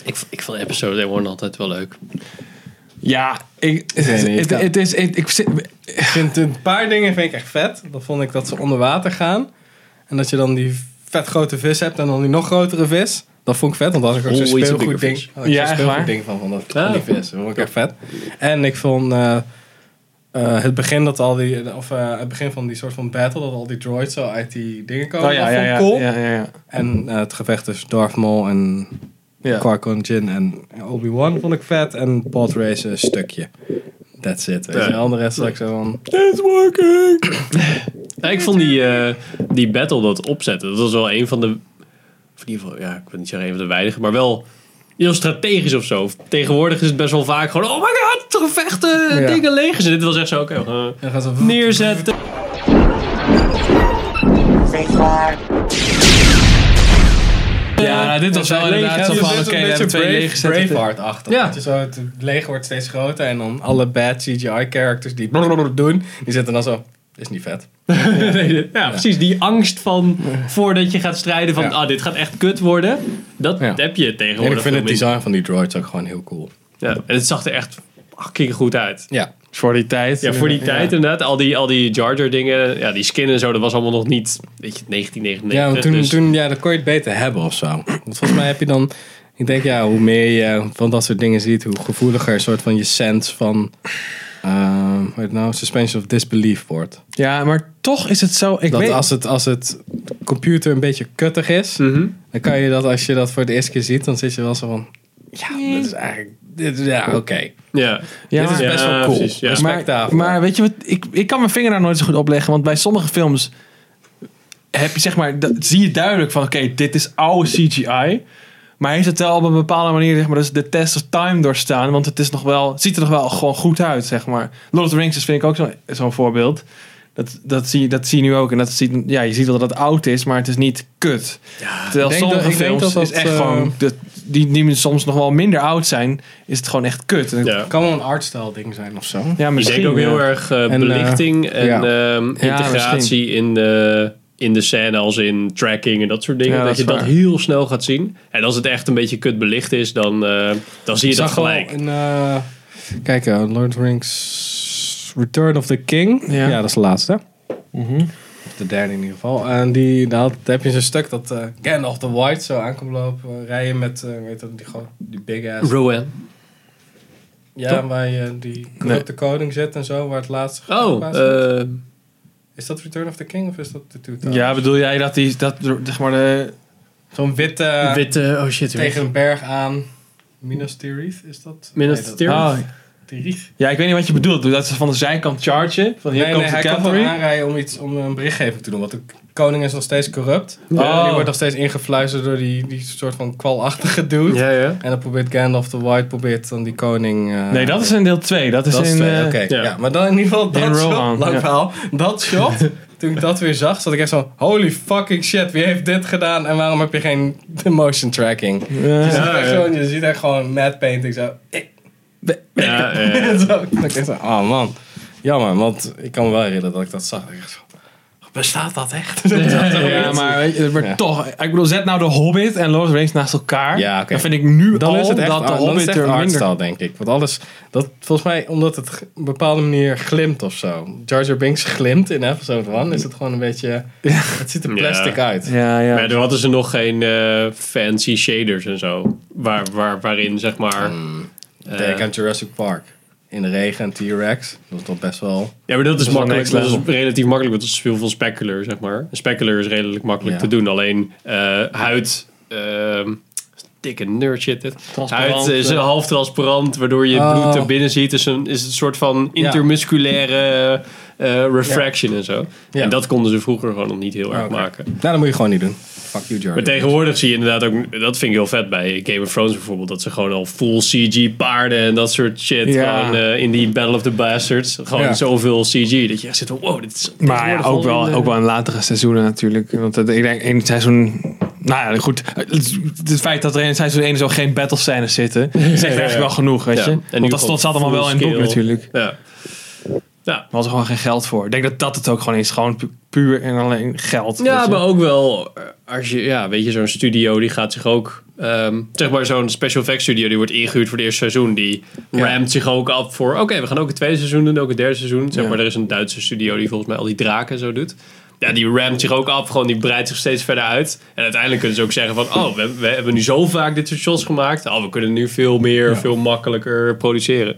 [SPEAKER 1] Ik, ik vond episode 1 altijd wel leuk.
[SPEAKER 3] Ja, ik,
[SPEAKER 2] weet niet,
[SPEAKER 3] het,
[SPEAKER 2] ja.
[SPEAKER 3] het is, ik, ik zit- oh,
[SPEAKER 2] Ik vind een paar dingen vind ik echt vet. Dan vond ik dat ze onder water gaan. En dat je dan die vet grote vis hebt en dan die nog grotere vis. Dat vond ik vet, want daar had ik ook zo'n
[SPEAKER 1] Oh, iets
[SPEAKER 2] speelgoed
[SPEAKER 1] bigger
[SPEAKER 2] ding.
[SPEAKER 1] vis.
[SPEAKER 2] had ik
[SPEAKER 3] Ja,
[SPEAKER 2] zo'n
[SPEAKER 3] echt
[SPEAKER 2] speelgoed
[SPEAKER 3] waar?
[SPEAKER 2] ding van, van, dat,
[SPEAKER 1] Ah.
[SPEAKER 2] van die vis. Dat vond ik echt vet. En ik vond eh, eh, het begin dat al die, of eh, het begin van die soort van battle, dat al die droids zo uit die dingen komen.
[SPEAKER 3] Oh ja,
[SPEAKER 2] dat
[SPEAKER 3] ja,
[SPEAKER 2] vond ik
[SPEAKER 3] ja.
[SPEAKER 2] cool.
[SPEAKER 3] ja, ja, ja.
[SPEAKER 2] En eh, het gevecht tussen Darth Maul en
[SPEAKER 3] Ja.
[SPEAKER 2] Qui-Gon Jinn en Obi-Wan vond ik vet. En Pod Racer een stukje. That's it. Weet je.
[SPEAKER 1] Ja.
[SPEAKER 2] En de rest zat ik zo van...
[SPEAKER 3] It's working!
[SPEAKER 1] Ja, ik vond die, eh, die battle dat opzetten, dat was wel een van de. Of in ieder geval, ja, ik wil niet zeggen een van de weinige, maar wel heel strategisch of zo. Tegenwoordig is het best wel vaak gewoon: oh my god, gevechten,
[SPEAKER 2] Ja.
[SPEAKER 1] dingen leeg. En dit was echt zo: oké, we gaan, eh,
[SPEAKER 2] Dan gaan ze
[SPEAKER 1] neerzetten.
[SPEAKER 3] Ja, nou, dit was wel inderdaad zo
[SPEAKER 2] Ja,
[SPEAKER 3] van,
[SPEAKER 2] dit
[SPEAKER 3] oké,
[SPEAKER 2] is
[SPEAKER 3] we
[SPEAKER 2] een beetje
[SPEAKER 3] hebben twee
[SPEAKER 2] Brave-
[SPEAKER 3] lege zetten.
[SPEAKER 2] Braveheart-achtig.
[SPEAKER 1] Ja.
[SPEAKER 2] Dat je zo, het leger wordt steeds groter en dan alle bad CGI-characters die blablabla doen, die zitten dan zo, is niet vet.
[SPEAKER 3] Oh,
[SPEAKER 1] ja, precies. Die angst van voordat je gaat strijden: van
[SPEAKER 2] Ja.
[SPEAKER 1] ah, dit gaat echt kut worden. Dat
[SPEAKER 2] Ja.
[SPEAKER 1] heb je
[SPEAKER 2] En
[SPEAKER 1] tegenwoordig.
[SPEAKER 2] ik vind
[SPEAKER 1] veel
[SPEAKER 2] het
[SPEAKER 1] minder.
[SPEAKER 2] design van die droids ook gewoon heel cool.
[SPEAKER 1] Ja, en het zag er echt fucking goed uit.
[SPEAKER 2] Ja.
[SPEAKER 3] Voor die tijd.
[SPEAKER 1] Ja, voor die tijd inderdaad. Al die, al die Jar Jar dingen, ja, die skin en zo, dat was allemaal nog niet, weet je, 1999.
[SPEAKER 2] Ja, want toen,
[SPEAKER 1] dus-
[SPEAKER 2] toen, ja, dan kon je het beter hebben of zo. Want volgens mij heb je dan, ik denk ja, hoe meer je van dat soort dingen ziet, hoe gevoeliger een soort van je sense van, eh, hoe heet het nou, suspension of disbelief wordt.
[SPEAKER 3] Ja, maar toch is het zo. Ik
[SPEAKER 2] Dat
[SPEAKER 3] weet
[SPEAKER 2] als het, als het computer een beetje kuttig is,
[SPEAKER 1] Mhm.
[SPEAKER 2] dan kan je dat als je dat voor de eerste keer ziet, dan zit je wel zo van. Ja, dit is eigenlijk. Dit, is- ja, oké.
[SPEAKER 1] Ja.
[SPEAKER 3] Ja,
[SPEAKER 2] dit is
[SPEAKER 3] maar-
[SPEAKER 2] best
[SPEAKER 1] Ja,
[SPEAKER 2] wel cool.
[SPEAKER 1] precies, ja.
[SPEAKER 2] Respect
[SPEAKER 3] maar,
[SPEAKER 2] daarvoor.
[SPEAKER 3] maar weet je wat? Ik, ik kan mijn vinger daar nooit zo goed op leggen. Want bij sommige films heb je zeg maar, dat, zie je duidelijk van: oké, dit is oude CGI. Maar heeft het wel op een bepaalde manier zeg maar, dus de test of time doorstaan. Want het, is nog wel, het ziet er nog wel gewoon goed uit, zeg maar. Lord of the Rings is, vind ik ook zo'n zo'n voorbeeld. Dat, dat, zie, dat zie je nu ook. En dat ziet, ja, je ziet wel dat het oud is, maar het is niet kut. Terwijl
[SPEAKER 2] ik denk
[SPEAKER 3] sommige
[SPEAKER 2] dat- ik denk
[SPEAKER 3] films
[SPEAKER 2] dat dat,
[SPEAKER 3] is echt
[SPEAKER 2] eh,
[SPEAKER 3] gewoon... dat- die, die soms nog wel minder oud zijn, is het gewoon echt kut. En-
[SPEAKER 1] ja.
[SPEAKER 2] kan wel een artstyle ding zijn of zo.
[SPEAKER 3] ja,
[SPEAKER 1] Ik denk ook
[SPEAKER 3] ja.
[SPEAKER 1] heel erg eh,
[SPEAKER 2] En, eh,
[SPEAKER 1] belichting en
[SPEAKER 2] ja.
[SPEAKER 1] ehm,
[SPEAKER 3] Ja,
[SPEAKER 1] integratie in de in de scène als in tracking en dat soort dingen.
[SPEAKER 3] Ja,
[SPEAKER 1] dat,
[SPEAKER 3] dat
[SPEAKER 1] je
[SPEAKER 3] is
[SPEAKER 1] dat
[SPEAKER 3] waar.
[SPEAKER 1] heel snel gaat zien. En als het echt een beetje kut belicht is, dan, eh, dan zie je dat
[SPEAKER 2] zag wel
[SPEAKER 1] gelijk.
[SPEAKER 2] een, eh, kijk, eh, Lord of the Rings Return of the King.
[SPEAKER 3] Ja.
[SPEAKER 2] Ja, dat is de laatste.
[SPEAKER 1] Mhm.
[SPEAKER 2] Of De derde in ieder geval. En die, daar had- daar heb je zo'n stuk dat eh Gandalf the White zo aankomt lopen. eh, rijden met, eh, weet dat, die, gro- die big ass.
[SPEAKER 1] Rowan.
[SPEAKER 2] ja, waar je die corrupte koning zit en zo, waar het laatste
[SPEAKER 1] Oh,
[SPEAKER 2] geplaatst wordt.
[SPEAKER 1] eh,
[SPEAKER 2] Is dat Return of the King of is dat de Two Towers?
[SPEAKER 3] Ja, bedoel jij dat die, dat, zeg maar de...
[SPEAKER 2] Zo'n witte,
[SPEAKER 1] witte, oh shit.
[SPEAKER 2] tegen een berg aan. Minas Tirith, is dat?
[SPEAKER 1] Minas
[SPEAKER 2] Nee, dat-
[SPEAKER 1] Tirith?
[SPEAKER 3] Ah,
[SPEAKER 2] Tirith?
[SPEAKER 3] ja, ik weet niet wat je bedoelt. Dat ze van de zijkant chargen. Van hier
[SPEAKER 2] nee,
[SPEAKER 3] komt
[SPEAKER 2] nee, hij
[SPEAKER 3] de
[SPEAKER 2] kan gewoon
[SPEAKER 3] cavalry.
[SPEAKER 2] aanrijden om, iets, om een berichtgeving te doen. Want de koning is nog steeds corrupt.
[SPEAKER 3] Oh.
[SPEAKER 2] Die wordt nog steeds ingefluisterd door die, die soort van kwalachtige dude.
[SPEAKER 1] Ja, ja.
[SPEAKER 2] En dan probeert Gandalf the White probeert dan die koning... eh,
[SPEAKER 3] Nee, dat is in deel 2. Dat is
[SPEAKER 2] dat is
[SPEAKER 3] in...
[SPEAKER 2] twee,
[SPEAKER 3] eh,
[SPEAKER 2] Oké,
[SPEAKER 1] ja.
[SPEAKER 2] ja. Maar dan in ieder geval dat
[SPEAKER 3] In
[SPEAKER 2] shot,
[SPEAKER 3] Rohan,
[SPEAKER 2] lang
[SPEAKER 3] ja.
[SPEAKER 2] verhaal, dat shot, toen ik dat weer zag, zat ik echt zo... Holy fucking shit, wie heeft dit gedaan en waarom heb je geen motion tracking?
[SPEAKER 3] eh,
[SPEAKER 2] Je, ziet echt zo, je ziet echt gewoon mad painting zo... eh,
[SPEAKER 1] Ja, eh,
[SPEAKER 2] zo. Dan denk ik zo, oh man, jammer, want ik kan me wel herinneren dat ik dat zag. Ik dacht zo, Bestaat dat echt?
[SPEAKER 3] Ja, maar weet je, het wordt
[SPEAKER 2] Ja.
[SPEAKER 3] toch... Ik bedoel, zet nou de Hobbit en Lord of the Rings naast elkaar.
[SPEAKER 2] Ja, oké.
[SPEAKER 3] Dan vind ik nu
[SPEAKER 2] Dan
[SPEAKER 3] al
[SPEAKER 2] is het echt,
[SPEAKER 3] dat de
[SPEAKER 2] dan is
[SPEAKER 3] Hobbit
[SPEAKER 2] het
[SPEAKER 3] er
[SPEAKER 2] echt
[SPEAKER 3] minder...
[SPEAKER 2] artstyle, denk ik. Want alles, dat, volgens mij, omdat het op een bepaalde manier glimt of zo. Jar Jar Binks glimt in episode 1, is het gewoon een beetje, het ziet er plastic
[SPEAKER 1] Ja.
[SPEAKER 2] uit.
[SPEAKER 3] Ja, ja.
[SPEAKER 1] Maar er hadden ze nog geen eh, fancy shaders en zo. Waar, waar, waarin zeg maar. eh,
[SPEAKER 2] Denk aan Jurassic Park. In de regen en T-Rex. Dat is toch best wel...
[SPEAKER 1] ja, maar dat is
[SPEAKER 3] is wel
[SPEAKER 1] makkelijk.
[SPEAKER 3] next
[SPEAKER 1] Dat is
[SPEAKER 3] level.
[SPEAKER 1] relatief makkelijk, want het is veel van specular, zeg maar. En specular is redelijk makkelijk
[SPEAKER 2] Ja.
[SPEAKER 1] te doen. Alleen eh, huid. ehm, dikke nerd shit dit.
[SPEAKER 3] Transparant,
[SPEAKER 1] Huid is
[SPEAKER 3] eh.
[SPEAKER 1] half transparant, waardoor je het
[SPEAKER 2] Oh.
[SPEAKER 1] bloed er binnen ziet. Dus een, is een soort van intermusculaire eh, refraction en zo.
[SPEAKER 2] Ja.
[SPEAKER 1] En dat konden ze vroeger gewoon nog niet heel erg
[SPEAKER 2] oké.
[SPEAKER 1] maken.
[SPEAKER 2] Nou, dat moet je gewoon niet doen. Fuck you, Jar
[SPEAKER 1] Maar
[SPEAKER 2] Jar.
[SPEAKER 1] tegenwoordig zie je inderdaad ook, dat vind ik heel vet bij Game of Thrones bijvoorbeeld, dat ze gewoon al full CG paarden en dat soort shit.
[SPEAKER 3] Ja.
[SPEAKER 1] Gewoon eh, in die Battle of the Bastards. Gewoon
[SPEAKER 2] Ja.
[SPEAKER 1] zoveel CG dat je echt zit van wow, dit is
[SPEAKER 3] Maar ja,
[SPEAKER 1] tegenwoordig
[SPEAKER 3] ook
[SPEAKER 1] gewoon,
[SPEAKER 3] wel,
[SPEAKER 1] eh,
[SPEAKER 3] ook wel in latere seizoenen natuurlijk. Want het- ik denk één seizoen... Nou ja, goed. Het, het feit dat er in seizoen 1 zo geen battlescènes zitten... zegt echt wel genoeg, weet
[SPEAKER 1] Ja.
[SPEAKER 3] je.
[SPEAKER 1] En nu
[SPEAKER 3] Want dat
[SPEAKER 1] gewoon
[SPEAKER 3] stond zat allemaal wel in het boek
[SPEAKER 1] full scale.
[SPEAKER 3] natuurlijk.
[SPEAKER 1] Ja.
[SPEAKER 3] Er was er gewoon geen geld voor. Ik denk dat dat het ook gewoon is. Gewoon pu- puur en alleen geld. weet
[SPEAKER 1] Ja,
[SPEAKER 3] je.
[SPEAKER 1] maar ook wel eh, als je, ja, weet je, zo'n studio die gaat zich ook, ehm, zeg maar zo'n special effects studio die wordt ingehuurd voor het eerste seizoen, die ramt zich ook af voor, oké, we gaan ook het tweede seizoen doen, ook het derde seizoen. Zeg
[SPEAKER 3] Ja.
[SPEAKER 1] maar, er is een Duitse studio die volgens mij al die draken zo doet. Ja, die ramt zich ook af, gewoon die breidt zich steeds verder uit. En uiteindelijk kunnen ze ook zeggen van, oh, we, we hebben nu zo vaak dit soort shots gemaakt, oh, we kunnen nu veel meer, veel makkelijker produceren.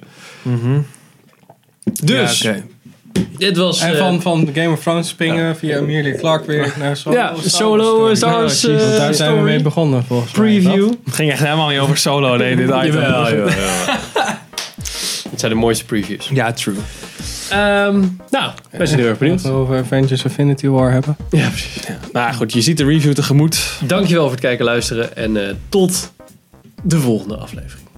[SPEAKER 1] Dus,
[SPEAKER 3] Mhm. Ja, oké.
[SPEAKER 1] dit was...
[SPEAKER 2] En
[SPEAKER 1] eh,
[SPEAKER 2] van, van Game of Thrones springen via Amelia Clark weer naar Solo.
[SPEAKER 1] ja, solo eh, Star Wars eh,
[SPEAKER 2] Want daar zijn we mee
[SPEAKER 1] story
[SPEAKER 2] begonnen, volgens mij.
[SPEAKER 1] preview.
[SPEAKER 3] Het ging echt helemaal niet over solo, nee, dit item.
[SPEAKER 1] Jawel, jawel, jawel. Het zijn de mooiste previews.
[SPEAKER 3] Ja, true.
[SPEAKER 1] Ehm, nou, wij zijn heel erg
[SPEAKER 2] Dat
[SPEAKER 1] benieuwd.
[SPEAKER 2] we over Avengers Affinity War hebben.
[SPEAKER 1] Ja, precies.
[SPEAKER 3] Nou ja, goed, je ziet de review tegemoet.
[SPEAKER 1] Dankjewel voor het kijken en luisteren. En eh, tot de volgende aflevering.